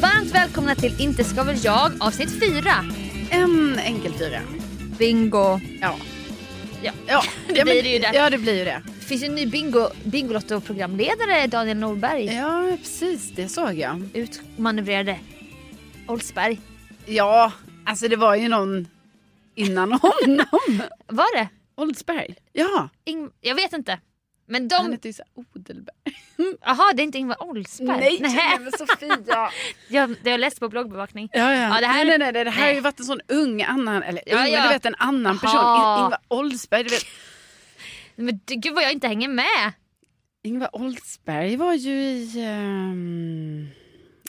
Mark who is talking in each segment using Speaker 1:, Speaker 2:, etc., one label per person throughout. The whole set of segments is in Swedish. Speaker 1: Varmt välkomna till Inte ska väl jag avsnitt 4.
Speaker 2: En enkel fyra.
Speaker 1: Bingo.
Speaker 2: Ja.
Speaker 1: Ja.
Speaker 2: ja.
Speaker 1: Det
Speaker 2: ja, men-
Speaker 1: blir det ju där.
Speaker 2: Ja, det blir ju det.
Speaker 1: Det finns ju en ny bingo, Bingolotto-programledare, Daniel Norberg.
Speaker 2: Ja, precis. Det såg jag.
Speaker 1: Utmanövrerade Oldsberg.
Speaker 2: Ja, alltså det var ju någon innan honom.
Speaker 1: Var det?
Speaker 2: Oldsberg. Ja,
Speaker 1: Ing- jag vet inte. Men
Speaker 2: han
Speaker 1: de...
Speaker 2: hette ju så här Odelberg.
Speaker 1: Jaha, det är inte Ingvar Oldsberg? Nähä.
Speaker 2: Sofia.
Speaker 1: jag, det har jag läst på bloggbevakning.
Speaker 2: Ja, ja.
Speaker 1: Ja, det här-
Speaker 2: nej, nej, nej, det här har ju
Speaker 1: nej.
Speaker 2: varit en sån ung annan, eller
Speaker 1: Ja,
Speaker 2: ung,
Speaker 1: ja.
Speaker 2: du vet en annan person.
Speaker 1: Jaha.
Speaker 2: In- Ingvar Oldsberg, du vet.
Speaker 1: Men du, gud vad jag inte hänger med.
Speaker 2: Ingvar Oldsberg var ju i... ehm,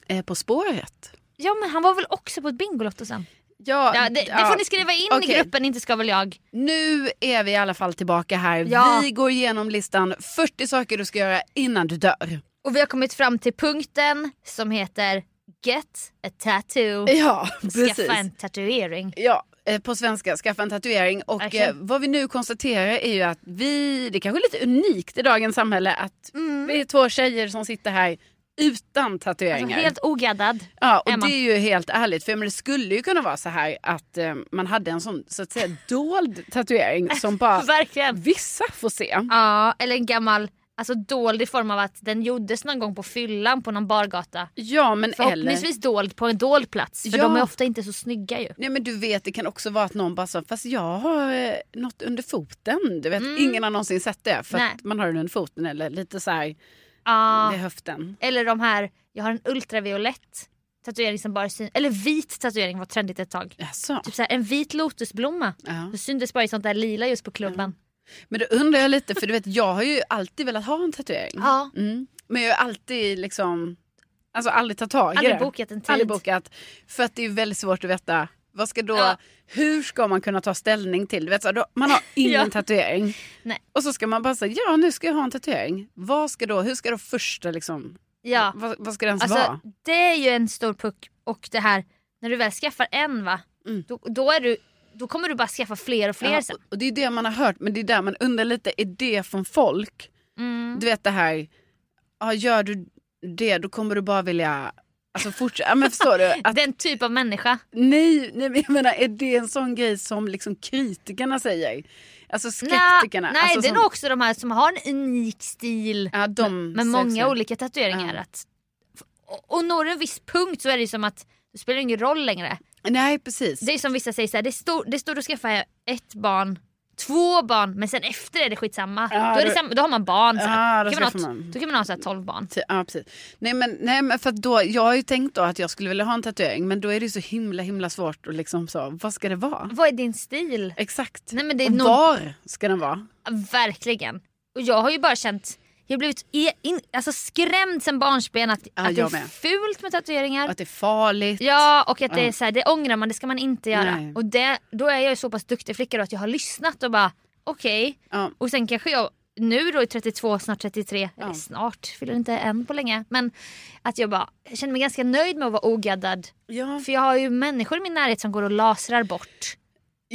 Speaker 2: eh, på spåret.
Speaker 1: Ja men han var väl också på ett Bingolotto sen? Ja, det, det
Speaker 2: ja.
Speaker 1: får ni skriva in i
Speaker 2: Okej.
Speaker 1: gruppen Inte ska väl jag.
Speaker 2: Nu är vi i alla fall tillbaka här.
Speaker 1: Ja.
Speaker 2: Vi går igenom listan 40 saker du ska göra innan du dör.
Speaker 1: Och vi har kommit fram till punkten som heter Get a tattoo.
Speaker 2: Ja,
Speaker 1: Skaffa en tatuering.
Speaker 2: Ja, eh, på svenska, skaffa en tatuering. Och
Speaker 1: Verkligen.
Speaker 2: eh, vad vi nu konstaterar är ju att vi, det kanske är lite unikt i dagens samhälle att
Speaker 1: Mm.
Speaker 2: vi är två tjejer som sitter här utan
Speaker 1: Alltså,
Speaker 2: tatueringar.
Speaker 1: helt ogaddad.
Speaker 2: Ja, och
Speaker 1: Emma.
Speaker 2: det är ju helt ärligt. För jag menar, det skulle ju kunna vara så här att eh, man hade en sån så att säga dold tatuering som bara
Speaker 1: Verkligen.
Speaker 2: vissa får se.
Speaker 1: Ja, eller en gammal, alltså dold i form av att den gjordes någon gång på fyllan på någon bargata.
Speaker 2: Ja, men eller...
Speaker 1: Förhoppningsvis dold på en dold plats för
Speaker 2: Ja.
Speaker 1: de är ofta inte så snygga ju.
Speaker 2: Nej men du vet det kan också vara att någon bara sa fast jag har eh, något under foten. Du vet ingen har någonsin sett det för
Speaker 1: Mm. Nej.
Speaker 2: att man har den under foten eller lite så här
Speaker 1: Ja.
Speaker 2: vid höften.
Speaker 1: Eller de här, jag har en ultraviolett tatuering som bara syns, eller vit tatuering var trendigt ett tag.
Speaker 2: Jaså?
Speaker 1: Typ så här, en vit lotusblomma.
Speaker 2: Ja.
Speaker 1: Då syntes bara i sånt där lila just på klubban.
Speaker 2: Men då undrar jag lite för du vet jag har ju alltid velat ha en tatuering.
Speaker 1: Ja.
Speaker 2: Mm. Men jag har alltid liksom alltså aldrig tagit tag i
Speaker 1: Aldrig
Speaker 2: det.
Speaker 1: bokat en tid.
Speaker 2: Aldrig bokat. För att det är väldigt svårt att veta vad ska då,
Speaker 1: Ja.
Speaker 2: hur ska man kunna ta ställning till? Du vet, så här, då, man har ingen
Speaker 1: Ja.
Speaker 2: tatuering.
Speaker 1: Nej.
Speaker 2: Och så ska man bara säga ja nu ska jag ha en tatuering. Vad ska då, hur ska då första liksom
Speaker 1: Ja.
Speaker 2: Vad, vad ska den ens
Speaker 1: Alltså,
Speaker 2: vara?
Speaker 1: det är ju en stor puck och det här när du väl skaffar en va.
Speaker 2: Mm.
Speaker 1: Då, då, är du, då kommer du bara skaffa fler och fler
Speaker 2: Ja,
Speaker 1: sen.
Speaker 2: och- och det är det man har hört, men det är där man undrar lite, är det från folk?
Speaker 1: Mm.
Speaker 2: Du vet det här, ja, gör du det då kommer du bara vilja alltså, fortsätta. Ja, men förstår du? Att,
Speaker 1: Den typ av människa.
Speaker 2: nej, nej, men jag menar, är det en sån grej som liksom kritikerna säger? Alltså skeptikerna.
Speaker 1: Nej,
Speaker 2: alltså,
Speaker 1: det är
Speaker 2: som,
Speaker 1: nog också de här som har en unik stil
Speaker 2: ja, de
Speaker 1: med
Speaker 2: sägs
Speaker 1: många
Speaker 2: ju.
Speaker 1: olika tatueringar.
Speaker 2: Mm, Ja.
Speaker 1: Att, och, och når du en viss punkt så är det ju som att det spelar ingen roll längre.
Speaker 2: Nej, precis.
Speaker 1: Det är som vissa säger, så här, det, är stor, det är stort att skaffa ett barn två barn men sen efter är det skitsamma.
Speaker 2: Ja,
Speaker 1: då, är det
Speaker 2: då-
Speaker 1: samma, då har man barn. Så här.
Speaker 2: Ja, då
Speaker 1: kan man ha,
Speaker 2: skaffar
Speaker 1: t-
Speaker 2: man.
Speaker 1: då kan man ha så här 12 barn.
Speaker 2: Ty- Ja, precis. Nej, men, nej, men för att då, jag har ju tänkt då att jag skulle vilja ha en tatuering men då är det ju så himla himla svårt att liksom så, vad ska det vara?
Speaker 1: Vad är din stil?
Speaker 2: Exakt.
Speaker 1: Nej, men det är
Speaker 2: och
Speaker 1: nog-
Speaker 2: var ska den vara?
Speaker 1: Verkligen. Och jag har ju bara känt, jag har blivit e- in, alltså skrämd sen barnsben att,
Speaker 2: Ja,
Speaker 1: att det
Speaker 2: jag
Speaker 1: är
Speaker 2: med.
Speaker 1: fult med
Speaker 2: Och
Speaker 1: tatueringar.
Speaker 2: Att det är farligt?
Speaker 1: Ja och att det är
Speaker 2: Ja.
Speaker 1: så här, det ångrar man, det ska man inte göra.
Speaker 2: Nej.
Speaker 1: Och det, då är jag ju så pass duktig flicka då att jag har lyssnat och bara okej.
Speaker 2: Ja.
Speaker 1: Och sen kanske jag nu då i 32, snart 33, eller
Speaker 2: Ja.
Speaker 1: snart, fyller inte än på länge. Men att jag bara jag känner mig ganska nöjd med att vara ogaddad.
Speaker 2: Ja,
Speaker 1: För jag har ju människor i min närhet som går och lasrar bort.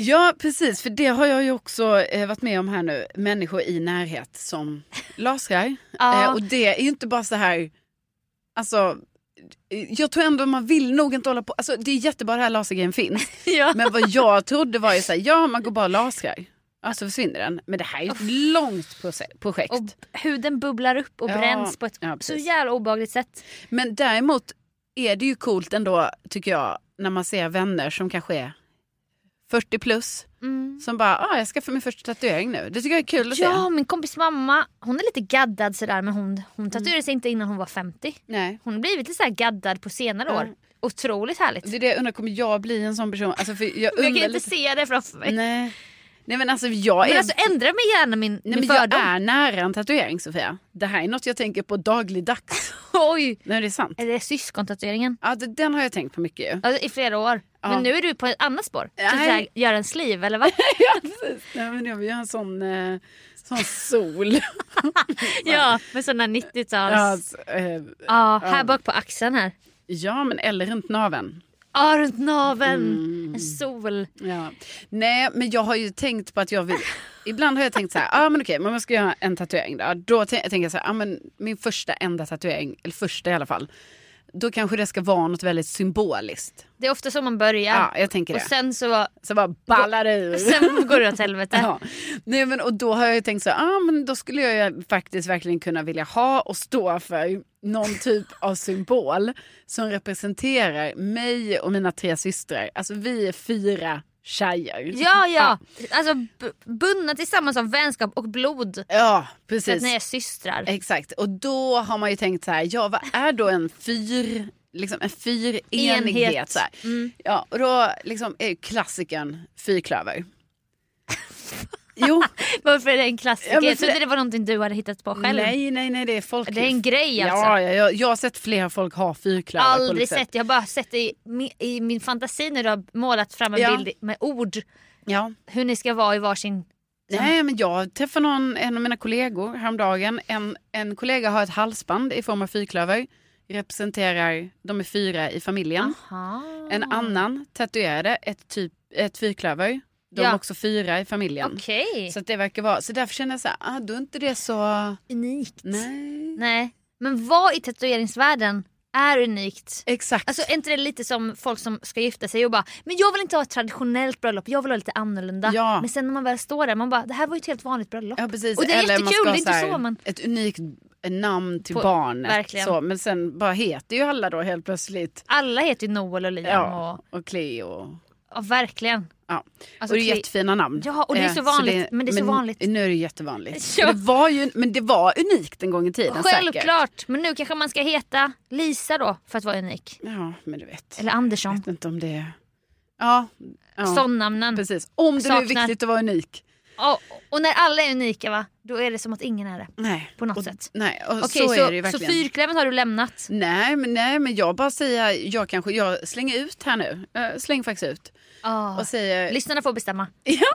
Speaker 2: Ja, precis. För det har jag ju också eh, varit med om här nu. Människor i närhet som lasrar.
Speaker 1: Ja.
Speaker 2: eh, och det är ju inte bara så här... Alltså, eh, jag tror ändå man vill nog inte hålla på... Alltså, det är jättebra det här lasergrejen finns.
Speaker 1: Ja.
Speaker 2: Men vad jag trodde var ju så här, ja man går bara och lasrar. Alltså försvinner den. Men det här är ju ett långt proce- projekt.
Speaker 1: Och huden bubblar upp och
Speaker 2: Ja,
Speaker 1: bränns på ett
Speaker 2: ja,
Speaker 1: så
Speaker 2: precis.
Speaker 1: jävla obehagligt sätt.
Speaker 2: Men däremot är det ju coolt ändå, tycker jag, när man ser vänner som kanske är 40 plus. Som bara, ah, jag skaffar min första tatuering nu. Det tycker jag är kul att
Speaker 1: Mm. Ja,
Speaker 2: se.
Speaker 1: min kompis mamma, hon är lite gaddad sådär men hon,
Speaker 2: Mm.
Speaker 1: hon tatuerade sig inte innan hon var 50.
Speaker 2: Nej.
Speaker 1: Hon har blivit lite såhär gaddad på senare
Speaker 2: Ja.
Speaker 1: år. Otroligt härligt.
Speaker 2: Det är det jag undrar, kommer jag bli en sån person? Alltså, för jag
Speaker 1: Men
Speaker 2: undrar
Speaker 1: jag kan inte
Speaker 2: lite...
Speaker 1: se det framför mig.
Speaker 2: Nej. Nej men alltså jag är...
Speaker 1: Men alltså ändra mig gärna min,
Speaker 2: Nej,
Speaker 1: min
Speaker 2: men jag
Speaker 1: fördom.
Speaker 2: är nära en tatuering Sofia. Det här är något jag tänker på dagligdags.
Speaker 1: Oj!
Speaker 2: Nej det är sant.
Speaker 1: Är det syskontatueringen?
Speaker 2: Ja, det, den har jag tänkt på mycket ju.
Speaker 1: Ja, I flera år. Men nu är du på ett annat spår. Så
Speaker 2: Nej.
Speaker 1: såhär, gör en sliv eller vad?
Speaker 2: ja precis. Nej men jag vill göra en sån, eh, sån sol.
Speaker 1: ja, med sådana 90-tals...
Speaker 2: ja,
Speaker 1: Ja,
Speaker 2: alltså, eh,
Speaker 1: här bak på axeln här.
Speaker 2: ja men eller runt naveln.
Speaker 1: Ja, runt naveln.
Speaker 2: Mm.
Speaker 1: En sol.
Speaker 2: Ja. Nej, men jag har ju tänkt på att jag vill... Ibland har jag tänkt så här, ah, men okej, men man ska göra en tatuering då. Då tän- jag tänker jag så här, ah, men min första enda tatuering, eller första i alla fall, då kanske det ska vara något väldigt symboliskt.
Speaker 1: Det är ofta så man börjar.
Speaker 2: Ja, jag tänker
Speaker 1: och
Speaker 2: det.
Speaker 1: sen så
Speaker 2: Så bara ballar det ur.
Speaker 1: sen går det åt helvete.
Speaker 2: Ja. Nej, men, och då har jag ju tänkt så här, ah, men då skulle jag ju faktiskt verkligen kunna vilja ha och stå för någon typ av symbol som representerar mig och mina tre systrar. Alltså vi är fyra tjejer.
Speaker 1: Ja, ja. Alltså b- bundna tillsammans av vänskap och blod.
Speaker 2: Ja,
Speaker 1: För att
Speaker 2: precis. Eh.
Speaker 1: ni är systrar.
Speaker 2: Exakt. Och då har man ju tänkt så här, ja vad är då en fyr, liksom en
Speaker 1: Enhet. Mm.
Speaker 2: fyrenighet? Så här. Ja, och då liksom är ju klassikern fyrklöver. jo,
Speaker 1: Varför är det en klassiker?
Speaker 2: Ja, men
Speaker 1: jag
Speaker 2: för
Speaker 1: trodde det...
Speaker 2: det-
Speaker 1: var någonting du hade hittat på själv.
Speaker 2: nej, nej, nej, det är folk.
Speaker 1: Det är en grej alltså.
Speaker 2: Ja, ja, jag, jag har sett flera folk ha fyrklöver. på
Speaker 1: Aldrig
Speaker 2: olika sätt.
Speaker 1: sett, jag har bara sett det i, mi- i min fantasi när du har målat fram en
Speaker 2: Ja.
Speaker 1: bild med ord
Speaker 2: Ja.
Speaker 1: hur ni ska vara i varsin...
Speaker 2: Nej, men jag träffade någon, en av mina kollegor häromdagen. En, en kollega har ett halsband i form av fyrklöver. Representerar, de är fyra i familjen.
Speaker 1: Aha.
Speaker 2: En annan tatuerade ett, typ, ett fyrklöver. De
Speaker 1: Ja.
Speaker 2: var också fyra i familjen.
Speaker 1: Okej,
Speaker 2: Eh, Så att det verkar vara. Så därför känner jag så här, ah, då är inte det så...
Speaker 1: unikt.
Speaker 2: Nej.
Speaker 1: Nej. Men vad i tatueringsvärlden är unikt?
Speaker 2: Exakt.
Speaker 1: Alltså är inte det lite som folk som ska gifta sig och bara “men jag vill inte ha ett traditionellt bröllop, jag vill ha lite annorlunda”.
Speaker 2: Ja.
Speaker 1: Men sen när man väl står där man bara “det här var ju ett helt vanligt bröllop”.
Speaker 2: ja, precis.
Speaker 1: Och det är
Speaker 2: Eller man
Speaker 1: jättekul,
Speaker 2: ska
Speaker 1: det
Speaker 2: ha
Speaker 1: är inte
Speaker 2: här,
Speaker 1: så men...
Speaker 2: Ett unikt namn till
Speaker 1: På-
Speaker 2: barnet.
Speaker 1: verkligen.
Speaker 2: Så, men sen bara heter ju alla då helt plötsligt.
Speaker 1: Alla heter ju Noel och Liam
Speaker 2: Ja,
Speaker 1: och...
Speaker 2: och Cleo.
Speaker 1: Ja verkligen.
Speaker 2: Ja.
Speaker 1: Alltså,
Speaker 2: och det är
Speaker 1: Cle-
Speaker 2: jättefina namn.
Speaker 1: Ja, och det är så
Speaker 2: Eh,
Speaker 1: vanligt, men det är så vanligt.
Speaker 2: Nu är det jättevanligt.
Speaker 1: Ja.
Speaker 2: Det var ju, men det var unikt en gång i tiden säkert.
Speaker 1: Självklart! Men nu kanske man ska heta Lisa då för att vara unik.
Speaker 2: Ja, men du vet.
Speaker 1: Eller Andersson.
Speaker 2: vet inte om det är... Ja, ja
Speaker 1: Sånnamnen.
Speaker 2: precis. Om det nu är
Speaker 1: Saknar.
Speaker 2: viktigt att vara unik.
Speaker 1: Och, och när alla är unika va, då är det som att ingen är det.
Speaker 2: Nej.
Speaker 1: På något
Speaker 2: och,
Speaker 1: sätt.
Speaker 2: Nej, och
Speaker 1: Okej,
Speaker 2: så,
Speaker 1: så,
Speaker 2: är det
Speaker 1: så,
Speaker 2: ju verkligen.
Speaker 1: fyrklövern har du lämnat.
Speaker 2: Nej, men, nej, men jag bara säger, jag kanske, jag slänger ut här nu. Jag slänger faktiskt ut.
Speaker 1: Ah.
Speaker 2: Och säger...
Speaker 1: Lyssnarna får bestämma.
Speaker 2: Ja,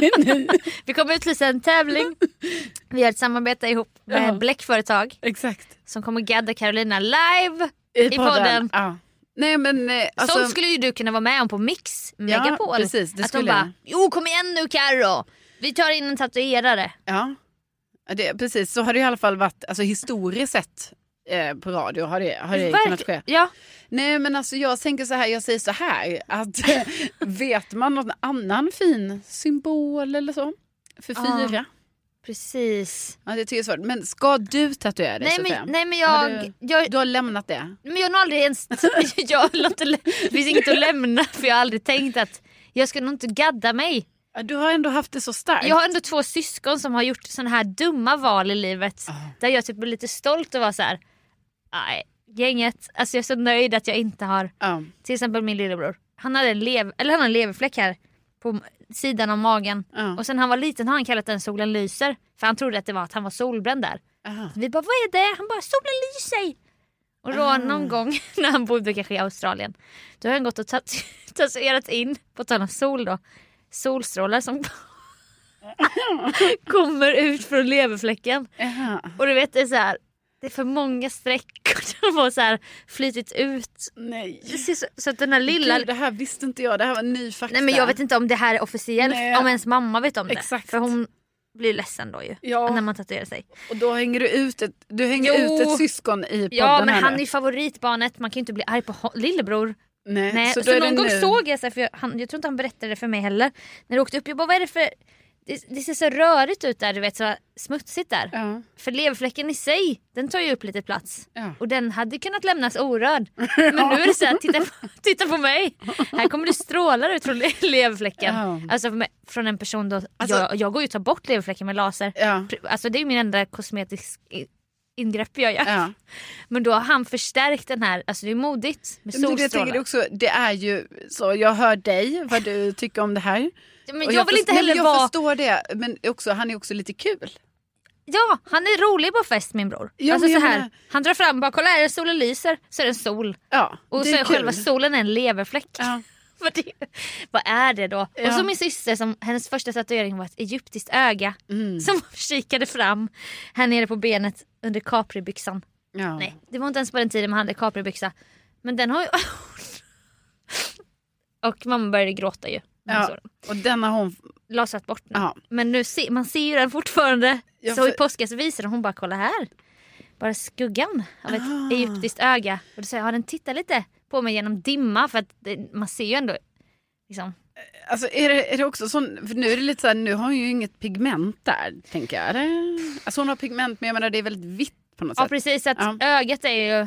Speaker 2: det är ni.
Speaker 1: Vi kommer utlysa en tävling. Vi har ett samarbete ihop med
Speaker 2: Ja.
Speaker 1: ett bläckföretag
Speaker 2: Exakt.
Speaker 1: som kommer gadda Carolina live.
Speaker 2: I
Speaker 1: podden.
Speaker 2: Ja. Nej, men eh, alltså...
Speaker 1: Sånt skulle ju du kunna vara med om på Mix Megapol.
Speaker 2: precis, det
Speaker 1: att de
Speaker 2: skulle jag.
Speaker 1: bara, jo kom igen nu Carro. Vi tar in en tatuerare.
Speaker 2: Ja, Ja, det, precis. Så har det i alla fall varit, alltså historiskt sett eh, på radio har det, har det kunnat ske.
Speaker 1: Ja.
Speaker 2: Nej men alltså jag tänker så här, jag säger så här att eh, vet man någon annan fin symbol eller så? För
Speaker 1: Ja.
Speaker 2: fyra?
Speaker 1: Precis.
Speaker 2: Ja, det tycker jag är svårt. Men ska du tatuera dig
Speaker 1: Nej
Speaker 2: Sofia?
Speaker 1: men, nej, men
Speaker 2: Har
Speaker 1: jag, jag,
Speaker 2: Du, du har lämnat det?
Speaker 1: Men jag har nog aldrig ens... jag låter, det finns inget att lämna för jag har aldrig tänkt att jag ska nog inte gadda mig.
Speaker 2: Ja, Du har ändå haft det så starkt.
Speaker 1: Jag har ändå två syskon som har gjort såna här dumma val i livet.
Speaker 2: Ah.
Speaker 1: Där jag typ blir lite stolt och var så här. Nej, gänget. Alltså jag är så nöjd att jag inte har.
Speaker 2: Ja.
Speaker 1: Till exempel min lillebror. Han hade en, lev, eller han har en leverfläck här. På m- sidan av magen.
Speaker 2: Ja.
Speaker 1: Och sen när han var liten har han kallat den solen lyser. För han trodde att det var att han var solbränd där.
Speaker 2: Aha.
Speaker 1: Vi bara vad är det? Han bara solen lyser. Och då
Speaker 2: Ah.
Speaker 1: någon gång när han bodde kanske i Australien. Då har han gått och tat- tatuerat in, på tal om sol då, solstrålar som kommer ut från leverfläcken.
Speaker 2: Jaha.
Speaker 1: Och du vet det är så här, det är för många streck och de har så här flytit ut. Det
Speaker 2: Nej.
Speaker 1: ser så, så att den här lilla...
Speaker 2: Gud, det här visste inte jag. Det här var ny fakta.
Speaker 1: Nej men jag vet inte om det här är officiellt,
Speaker 2: Nej.
Speaker 1: om ens mamma vet om det.
Speaker 2: Exakt.
Speaker 1: För hon blir ledsen då ju,
Speaker 2: Ja.
Speaker 1: när man tatuerar sig.
Speaker 2: Och då hänger du ut ett, du hänger
Speaker 1: Jo.
Speaker 2: ut ett syskon i podden
Speaker 1: Ja men
Speaker 2: här
Speaker 1: han
Speaker 2: nu.
Speaker 1: är ju favoritbarnet, man kan ju inte bli arg på ho- lillebror.
Speaker 2: Nej,
Speaker 1: Nej, så
Speaker 2: då är det
Speaker 1: någon gång
Speaker 2: nu.
Speaker 1: såg jag, så här, för jag, han, jag tror inte han berättade det för mig heller, när jag åkte upp. Jag bara, vad är det för... Det, det ser så rörigt ut där, du vet, så smutsigt där.
Speaker 2: Ja.
Speaker 1: För leverfläcken i sig, den tar ju upp lite plats.
Speaker 2: Ja.
Speaker 1: Och den hade kunnat lämnas orörd. Men nu är det så här, titta, på- titta på mig. Här kommer det strålar ut från le- leverfläcken.
Speaker 2: Ja.
Speaker 1: Alltså med, från en person då,
Speaker 2: Alltså-
Speaker 1: jag, jag går ju och tar bort leverfläcken med laser.
Speaker 2: Ja.
Speaker 1: Pr- Alltså det är ju min enda kosmetisk i- ingrepp jag gör.
Speaker 2: Ja.
Speaker 1: Men då har han förstärkt den här, alltså det är modigt med
Speaker 2: Men du, jag tänker
Speaker 1: solstrålar.
Speaker 2: också, det är ju så, jag hör dig, vad du tycker om det här.
Speaker 1: Ja, Men
Speaker 2: Och
Speaker 1: jag, vill
Speaker 2: förs-
Speaker 1: inte
Speaker 2: Nej,
Speaker 1: heller
Speaker 2: men jag
Speaker 1: vara...
Speaker 2: förstår det, men också, han är också lite kul.
Speaker 1: Ja, han är rolig på fest min bror.
Speaker 2: Ja,
Speaker 1: alltså
Speaker 2: men
Speaker 1: så
Speaker 2: jag
Speaker 1: här,
Speaker 2: menar-
Speaker 1: han drar fram bara, kolla här solen lyser, så är det en sol.
Speaker 2: Ja,
Speaker 1: Och
Speaker 2: det
Speaker 1: så
Speaker 2: är
Speaker 1: är
Speaker 2: kul.
Speaker 1: själva solen en leverfläck.
Speaker 2: Ja.
Speaker 1: Vad det, vad är det då?
Speaker 2: Ja.
Speaker 1: Och så min syster, som, hennes första tatuering var ett egyptiskt öga
Speaker 2: Mm,
Speaker 1: som kikade fram här nere på benet under capribyxan.
Speaker 2: Ja.
Speaker 1: Nej, det var inte ens på den tiden man hade capribyxa. Men den har ju... och mamma började gråta ju. när hon såg
Speaker 2: Ja.
Speaker 1: den.
Speaker 2: Och den har hon,
Speaker 1: Lasrat bort nu.
Speaker 2: ja.
Speaker 1: Men nu se, man ser ju den fortfarande.
Speaker 2: Ja,
Speaker 1: så
Speaker 2: för-
Speaker 1: i påskas visar hon bara kolla här. Bara skuggan av ett
Speaker 2: Ah.
Speaker 1: egyptiskt öga. Och då säger jag, ja, den tittar lite på mig genom dimma för att det, man ser ju ändå. Liksom.
Speaker 2: Alltså är det, är det också sån, för nu är det lite så här, nu har hon ju inget pigment där, tänker jag. Eller? Alltså hon har pigment, men jag menar det är väldigt vitt på något
Speaker 1: Ja
Speaker 2: sätt.
Speaker 1: precis, att
Speaker 2: Ja.
Speaker 1: ögat är ju...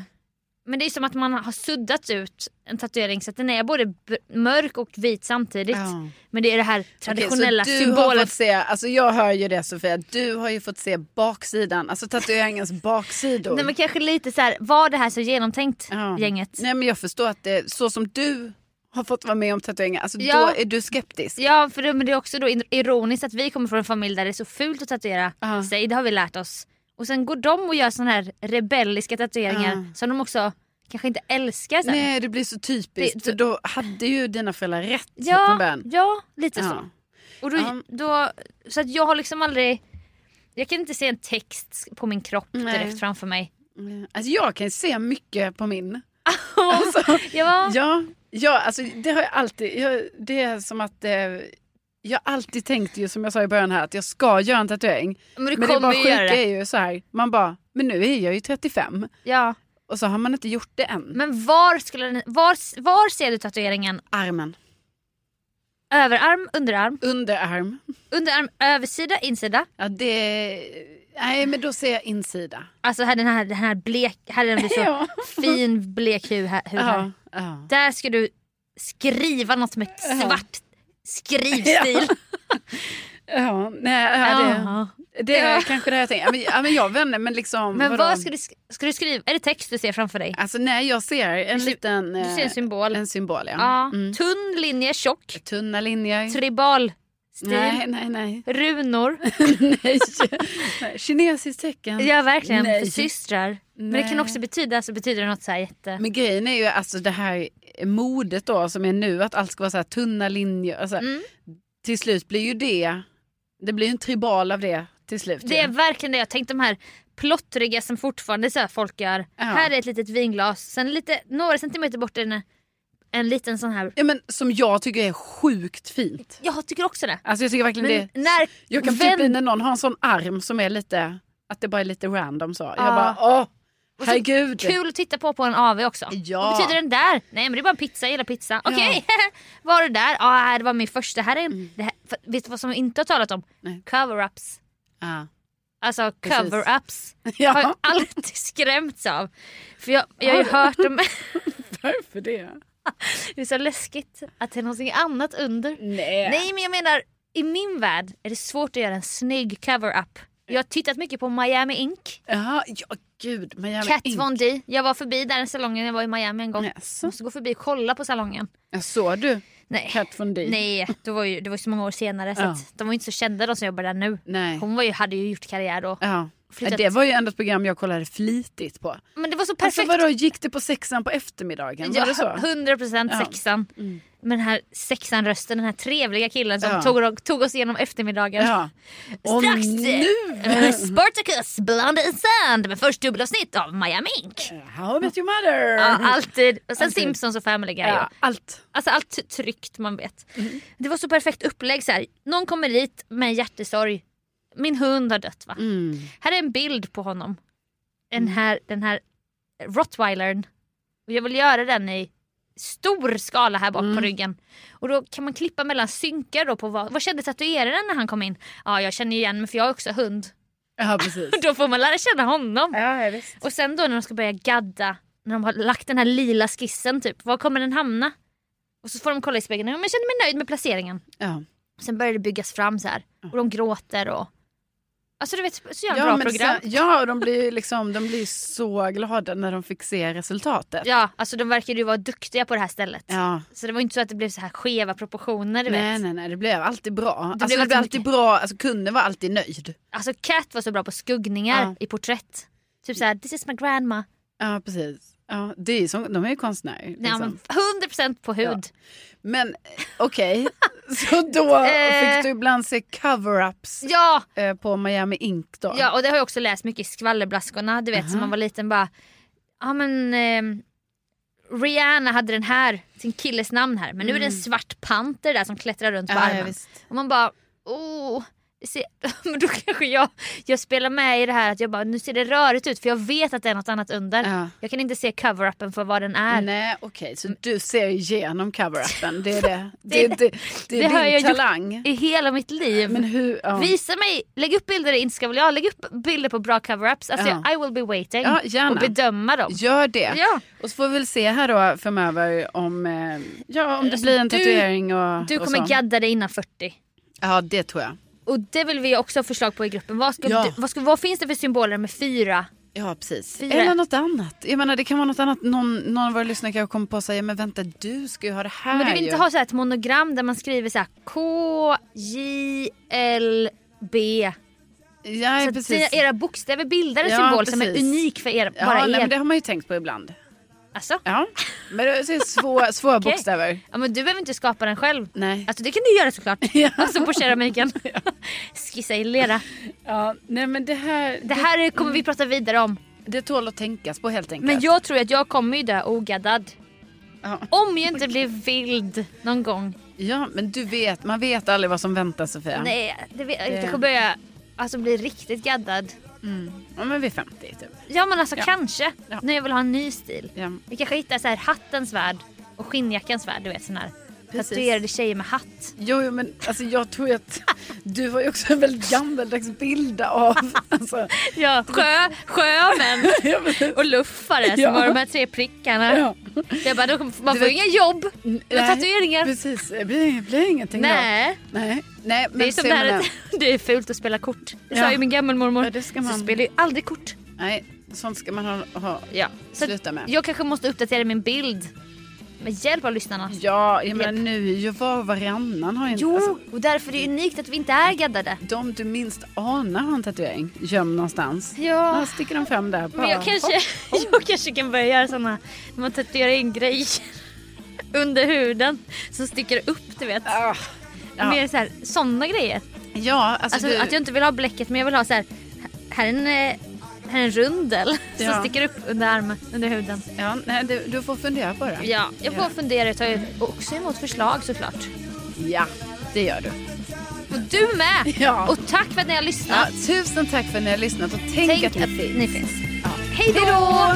Speaker 1: Men det är som att man har suddat ut en tatuering så att den är både b- mörk och vit samtidigt.
Speaker 2: Ja.
Speaker 1: Men det är det här traditionella
Speaker 2: Okej, så du har
Speaker 1: symbolen.
Speaker 2: fått se, alltså jag hör ju det Sofia, du har ju fått se baksidan, alltså tatueringens baksidor.
Speaker 1: Nej men kanske lite så här, var det här så genomtänkt
Speaker 2: Ja.
Speaker 1: gänget?
Speaker 2: Nej men jag förstår att det, så som du har fått vara med om tatueringar, alltså
Speaker 1: Ja.
Speaker 2: då är du skeptisk.
Speaker 1: Ja, för det, men det är också då in- ironiskt att vi kommer från en familj där det är så fult att tatuera
Speaker 2: Ja.
Speaker 1: sig. Det har vi lärt oss. Och sen går de och gör såna här rebelliska tatueringar
Speaker 2: Ja.
Speaker 1: som de också kanske inte älskar sen.
Speaker 2: Nej det blir så typiskt,
Speaker 1: Det-
Speaker 2: för då hade ju dina föräldrar rätt från
Speaker 1: ja,
Speaker 2: början.
Speaker 1: ja, lite
Speaker 2: Ja.
Speaker 1: så. Och då,
Speaker 2: Ja.
Speaker 1: då, så att jag har liksom aldrig... Jag kan inte se en text på min kropp
Speaker 2: Nej.
Speaker 1: direkt framför mig.
Speaker 2: Alltså jag kan se mycket på min. Alltså,
Speaker 1: Ja,
Speaker 2: Ja, ja alltså, det har jag alltid. Jag, det är som att eh, jag alltid tänkte ju som jag sa i början här att jag ska göra en tatuering.
Speaker 1: men du
Speaker 2: Men det
Speaker 1: kommer
Speaker 2: bara
Speaker 1: ju göra
Speaker 2: sjuka
Speaker 1: det.
Speaker 2: är ju så här, man bara, men nu är jag ju 35
Speaker 1: Ja.
Speaker 2: och så har man inte gjort det än.
Speaker 1: Men var, skulle den, var, var ser du tatueringen?
Speaker 2: Armen,
Speaker 1: Överarm, underarm?
Speaker 2: underarm.
Speaker 1: Underarm, översida, insida?
Speaker 2: Ja, det, nej men då ser jag insida.
Speaker 1: Alltså här, den här, den här blek, här är den så
Speaker 2: Ja.
Speaker 1: fin blek hud här. hud här.
Speaker 2: Ja, ja.
Speaker 1: Där ska du skriva något med ett svart skrivstil.
Speaker 2: ja, nej, ja, det,
Speaker 1: Ja.
Speaker 2: det är
Speaker 1: Ja.
Speaker 2: kanske det jag tänker. Ja, men- Ja, men jag vet inte, men liksom.
Speaker 1: Men
Speaker 2: vadå?
Speaker 1: vad ska du, sk- ska du skriva? Är det text du ser framför dig?
Speaker 2: Alltså nej, jag ser en
Speaker 1: ser-
Speaker 2: liten...
Speaker 1: Du ser en
Speaker 2: eh,
Speaker 1: symbol.
Speaker 2: en symbol, ja.
Speaker 1: Ja.
Speaker 2: Mm.
Speaker 1: Tunn linje, tjock,
Speaker 2: Tunna linjer.
Speaker 1: tribal stil,
Speaker 2: Nej, nej, nej.
Speaker 1: runor.
Speaker 2: Nej. Nej, Kinesiskt tecken.
Speaker 1: Ja verkligen,
Speaker 2: Nej.
Speaker 1: för systrar. Men det kan
Speaker 2: Nej.
Speaker 1: också betyda, så betyder det något så här jätte...
Speaker 2: Men grejen är ju alltså det här modet då som är nu att allt ska vara så här tunna linjer. Alltså,
Speaker 1: Mm.
Speaker 2: Till slut blir ju det, det blir ju en tribal av det till slut.
Speaker 1: Det är
Speaker 2: ju.
Speaker 1: verkligen det jag tänkt. De här plottriga som fortfarande så här folk gör. Här är ett litet vinglas, sen lite, några centimeter bort är en, en liten sån här.
Speaker 2: Ja, men, som jag tycker är sjukt fint.
Speaker 1: Jag tycker också det.
Speaker 2: Alltså jag tycker verkligen
Speaker 1: Men
Speaker 2: det.
Speaker 1: när
Speaker 2: Jag kan
Speaker 1: vänd-
Speaker 2: typ bli när någon har en sån arm som är lite, att det bara är lite random så. Jag
Speaker 1: Ja.
Speaker 2: bara åh,
Speaker 1: så
Speaker 2: herregud.
Speaker 1: Kul att titta på på en AV också.
Speaker 2: Ja.
Speaker 1: Vad betyder den där? Nej men det är bara en pizza, jag gillar pizza. Okej, vad har du där? Ja det var min första. Här är en, det här, för, vet du vad som vi inte har talat om?
Speaker 2: Mm. Nej.
Speaker 1: Cover-ups.
Speaker 2: Ja.
Speaker 1: Alltså
Speaker 2: Precis.
Speaker 1: cover-ups har jag
Speaker 2: ja,
Speaker 1: alltid skrämts av. För jag, jag har ju hört om,
Speaker 2: varför det?
Speaker 1: det är så läskigt att det är någonting annat under.
Speaker 2: Nej.
Speaker 1: Nej men jag menar i min värld är det svårt att göra en snygg cover-up. Jag har tittat mycket på Miami Ink,
Speaker 2: Jaha, ja gud. Men jag
Speaker 1: Kat Von D. Jag var förbi där i salongen, jag var i Miami en gång. Måste gå förbi och kolla på salongen.
Speaker 2: Såg du
Speaker 1: Nej.
Speaker 2: Kat Von D?
Speaker 1: Nej, det var ju, det var ju så många år senare så
Speaker 2: Ja.
Speaker 1: att de var ju inte så kända de som jobbar där nu.
Speaker 2: Nej.
Speaker 1: Hon var ju, hade ju gjort karriär då.
Speaker 2: Ja.
Speaker 1: Flyttat-
Speaker 2: Det var ju ändå ett program jag kollade flitigt på.
Speaker 1: Men det var så perfekt.
Speaker 2: Alltså vadå, gick det på sexan på eftermiddagen? Var det så?
Speaker 1: 100%
Speaker 2: Ja. Mm.
Speaker 1: sexan. Med den här sexan-rösten, den här trevliga killen som
Speaker 2: Ja.
Speaker 1: tog, tog oss igenom eftermiddagen.
Speaker 2: Ja. Och
Speaker 1: Strax
Speaker 2: nu!
Speaker 1: eh, Spartacus, Blond and Sand. Men först dubbelavsnitt av Miami Ink.
Speaker 2: How I met your mother! Mm.
Speaker 1: Ja, alltid. Och sen Simpsons och Family Guy.
Speaker 2: Ja, allt.
Speaker 1: Alltså allt tryggt man vet. Det var så perfekt upplägg. Så här. Någon kommer dit med en hjärtesorg. Min hund har dött va? Här är en bild på honom. Den här, den här rottweilern. Och jag vill göra den i stor skala här bak på ryggen. Och då kan man klippa mellan synkar då på vad, vad kände tatueraren när han kom in? Ja jag känner igen mig för jag har också hund.
Speaker 2: Ja, precis.
Speaker 1: Då får man lära känna honom.
Speaker 2: ja, ja, visst.
Speaker 1: Och sen då när de ska börja gadda, när de har lagt den här lila skissen typ, var kommer den hamna? Och så får de kolla i spegeln, ja, men jag känner mig nöjd med placeringen.
Speaker 2: Ja.
Speaker 1: Sen börjar det byggas fram så här och de gråter och... Alltså du vet, så jävla
Speaker 2: Ja,
Speaker 1: bra
Speaker 2: men
Speaker 1: program.
Speaker 2: sen, ja, och de blir ju liksom, de blir så glada när de fick se resultatet.
Speaker 1: Ja, alltså de verkade ju vara duktiga på det här stället.
Speaker 2: Ja.
Speaker 1: Så det var inte så att det blev så här skeva proportioner du
Speaker 2: Nej,
Speaker 1: vet.
Speaker 2: nej, nej, det blev alltid bra.
Speaker 1: Det
Speaker 2: alltså,
Speaker 1: blev
Speaker 2: det blev
Speaker 1: alltid
Speaker 2: alltid bra, alltså kunden var alltid nöjd.
Speaker 1: Alltså Cat var så bra på skuggningar
Speaker 2: Ja.
Speaker 1: i porträtt. Typ såhär, this is my grandma.
Speaker 2: Ja, precis. Ja, det är ju som, de är ju konstnärer. Liksom.
Speaker 1: Ja, men
Speaker 2: men
Speaker 1: 100% på hud.
Speaker 2: eh, okej, så då
Speaker 1: Eh.
Speaker 2: fick du ibland se cover-ups
Speaker 1: Ja,
Speaker 2: eh, på Miami Ink då?
Speaker 1: Ja och det har jag också läst mycket i skvallerblaskorna, du vet som man var liten bara, ja men ehm, Rihanna hade den här, sin killes namn här, men nu är det en svart panter där som klättrar runt på
Speaker 2: Mm. Ja, ja,
Speaker 1: armen.
Speaker 2: visst.
Speaker 1: och man bara, oh, det ser, men då kanske jag, jag spelar med i det här att jag bara, nu ser det rörigt ut för jag vet att det är något annat under.
Speaker 2: Ja.
Speaker 1: Jag kan inte se cover-upen för vad den är.
Speaker 2: Nej, okej, så du ser igenom cover-uppen. Det är, det. Det, det, det,
Speaker 1: Mm. Det har
Speaker 2: är
Speaker 1: jag
Speaker 2: din
Speaker 1: gjort
Speaker 2: talang.
Speaker 1: i hela mitt liv.
Speaker 2: Men hur, ja.
Speaker 1: Visa mig, lägg upp bilder i Instagram, lägg upp bilder på bra cover-ups. Alltså,
Speaker 2: Ja.
Speaker 1: I will be waiting.
Speaker 2: Ja, gärna.
Speaker 1: Och bedöma dem.
Speaker 2: Gör det.
Speaker 1: Ja.
Speaker 2: Och så får vi väl se här då framöver om, eh, ja, om det
Speaker 1: Alltså,
Speaker 2: blir en
Speaker 1: du-
Speaker 2: tatuering och
Speaker 1: Du
Speaker 2: och
Speaker 1: kommer
Speaker 2: så.
Speaker 1: gadda dig innan 40.
Speaker 2: Ja, det tror jag.
Speaker 1: Och det vill vi också ha förslag på i gruppen. Vad, ska
Speaker 2: Ja.
Speaker 1: du, vad, ska, vad finns det för symboler med fyra?
Speaker 2: Ja, precis.
Speaker 1: Fyra.
Speaker 2: Eller något annat. Jag menar, det kan vara något annat. Någon, någon av våra lyssnare kanske kommer på att säga, men vänta, du ska ju ha det här
Speaker 1: Men du vill
Speaker 2: ju.
Speaker 1: inte ha så här ett monogram där man skriver så här K, J, L, B.
Speaker 2: Ja,
Speaker 1: Så att
Speaker 2: precis.
Speaker 1: dina- era bokstäver bildar en
Speaker 2: Ja,
Speaker 1: symbol som är
Speaker 2: precis.
Speaker 1: unik för er,
Speaker 2: Ja,
Speaker 1: bara
Speaker 2: nej,
Speaker 1: er.
Speaker 2: men det har man ju tänkt på ibland.
Speaker 1: Alltså,
Speaker 2: Ja, men det är så svåra, svåra
Speaker 1: Okej.
Speaker 2: bokstäver.
Speaker 1: ja, men du behöver inte skapa den själv.
Speaker 2: Nej.
Speaker 1: Alltså, det kan du göra såklart.
Speaker 2: Ja.
Speaker 1: Alltså på keramiken. Skissa i lera.
Speaker 2: Ja, nej men det mm. här,
Speaker 1: Det här kommer vi prata vidare om.
Speaker 2: det tål att tänkas på helt enkelt.
Speaker 1: Men jag tror att jag kommer ju dö ogaddad.
Speaker 2: Ja.
Speaker 1: Om jag inte blir vild någon gång.
Speaker 2: Ja, men du vet, man vet aldrig vad som väntar Sofia.
Speaker 1: Nej, det vet, jag
Speaker 2: Det-
Speaker 1: kanske börjar alltså, bli riktigt gaddad.
Speaker 2: Ja, men vi är 50 typ.
Speaker 1: Ja men alltså
Speaker 2: Ja.
Speaker 1: kanske.
Speaker 2: Ja.
Speaker 1: När jag vill ha en ny stil.
Speaker 2: Ja.
Speaker 1: Vi kanske hittar så här hattens värld och skinnjackans värld. Du vet sån här
Speaker 2: Precis.
Speaker 1: tatuerade tjejer med hatt.
Speaker 2: Jo, jo, men alltså, jag tror ju att du har ju också en väldigt gammaldags bild av... Alltså,
Speaker 1: Ja, sjö, sjömän
Speaker 2: ja, men-
Speaker 1: och luffare som
Speaker 2: Ja.
Speaker 1: har de här tre prickarna.
Speaker 2: ja.
Speaker 1: Jag bara, då, kommer- man
Speaker 2: Du
Speaker 1: får
Speaker 2: vet-
Speaker 1: inga jobb med
Speaker 2: Nej,
Speaker 1: tatueringar.
Speaker 2: Precis, det blir, det blir ingenting
Speaker 1: Nej,
Speaker 2: då. Nej. Nej, men
Speaker 1: det är som
Speaker 2: så
Speaker 1: det
Speaker 2: jag
Speaker 1: här
Speaker 2: menar-
Speaker 1: att det är fult att spela kort. Det sa
Speaker 2: Ja.
Speaker 1: ju min gammelmormor.
Speaker 2: Ja, det ska
Speaker 1: Så
Speaker 2: man-
Speaker 1: spelar ju aldrig kort.
Speaker 2: Nej, sånt ska man ha... ha.
Speaker 1: Ja. Så
Speaker 2: Sluta med.
Speaker 1: Jag kanske måste uppdatera min bild med hjälp av lyssnarna.
Speaker 2: Ja, jag menar nu är ju var och varannan har ju inte...
Speaker 1: Jo,
Speaker 2: Alltså,
Speaker 1: och därför är det unikt att vi inte är gaddade.
Speaker 2: de du minst anar har en tatuering gömd någonstans.
Speaker 1: Ja.
Speaker 2: Då sticker de fram där. Bara,
Speaker 1: Men jag kanske, jag kanske kan börja göra såna, när man tatuerar in grejer under huden som sticker upp du vet.
Speaker 2: Ah, ja.
Speaker 1: Mer så här, såna grejer.
Speaker 2: Ja, alltså,
Speaker 1: Alltså
Speaker 2: du...
Speaker 1: att jag inte vill ha bläcket men jag vill ha så här, här är en, eh, här är en rundel som
Speaker 2: Ja.
Speaker 1: sticker upp under armen, under huden.
Speaker 2: ja, nej, du, du får fundera på det.
Speaker 1: Ja, jag får fundera och ta också emot förslag såklart.
Speaker 2: ja, det gör du.
Speaker 1: Och du med!
Speaker 2: Ja.
Speaker 1: Och tack för att ni har lyssnat.
Speaker 2: Ja, tusen tack för att ni har lyssnat och tänk,
Speaker 1: Tänk
Speaker 2: att ni
Speaker 1: att
Speaker 2: finns.
Speaker 1: ni finns.
Speaker 2: Ja.
Speaker 1: Hej då!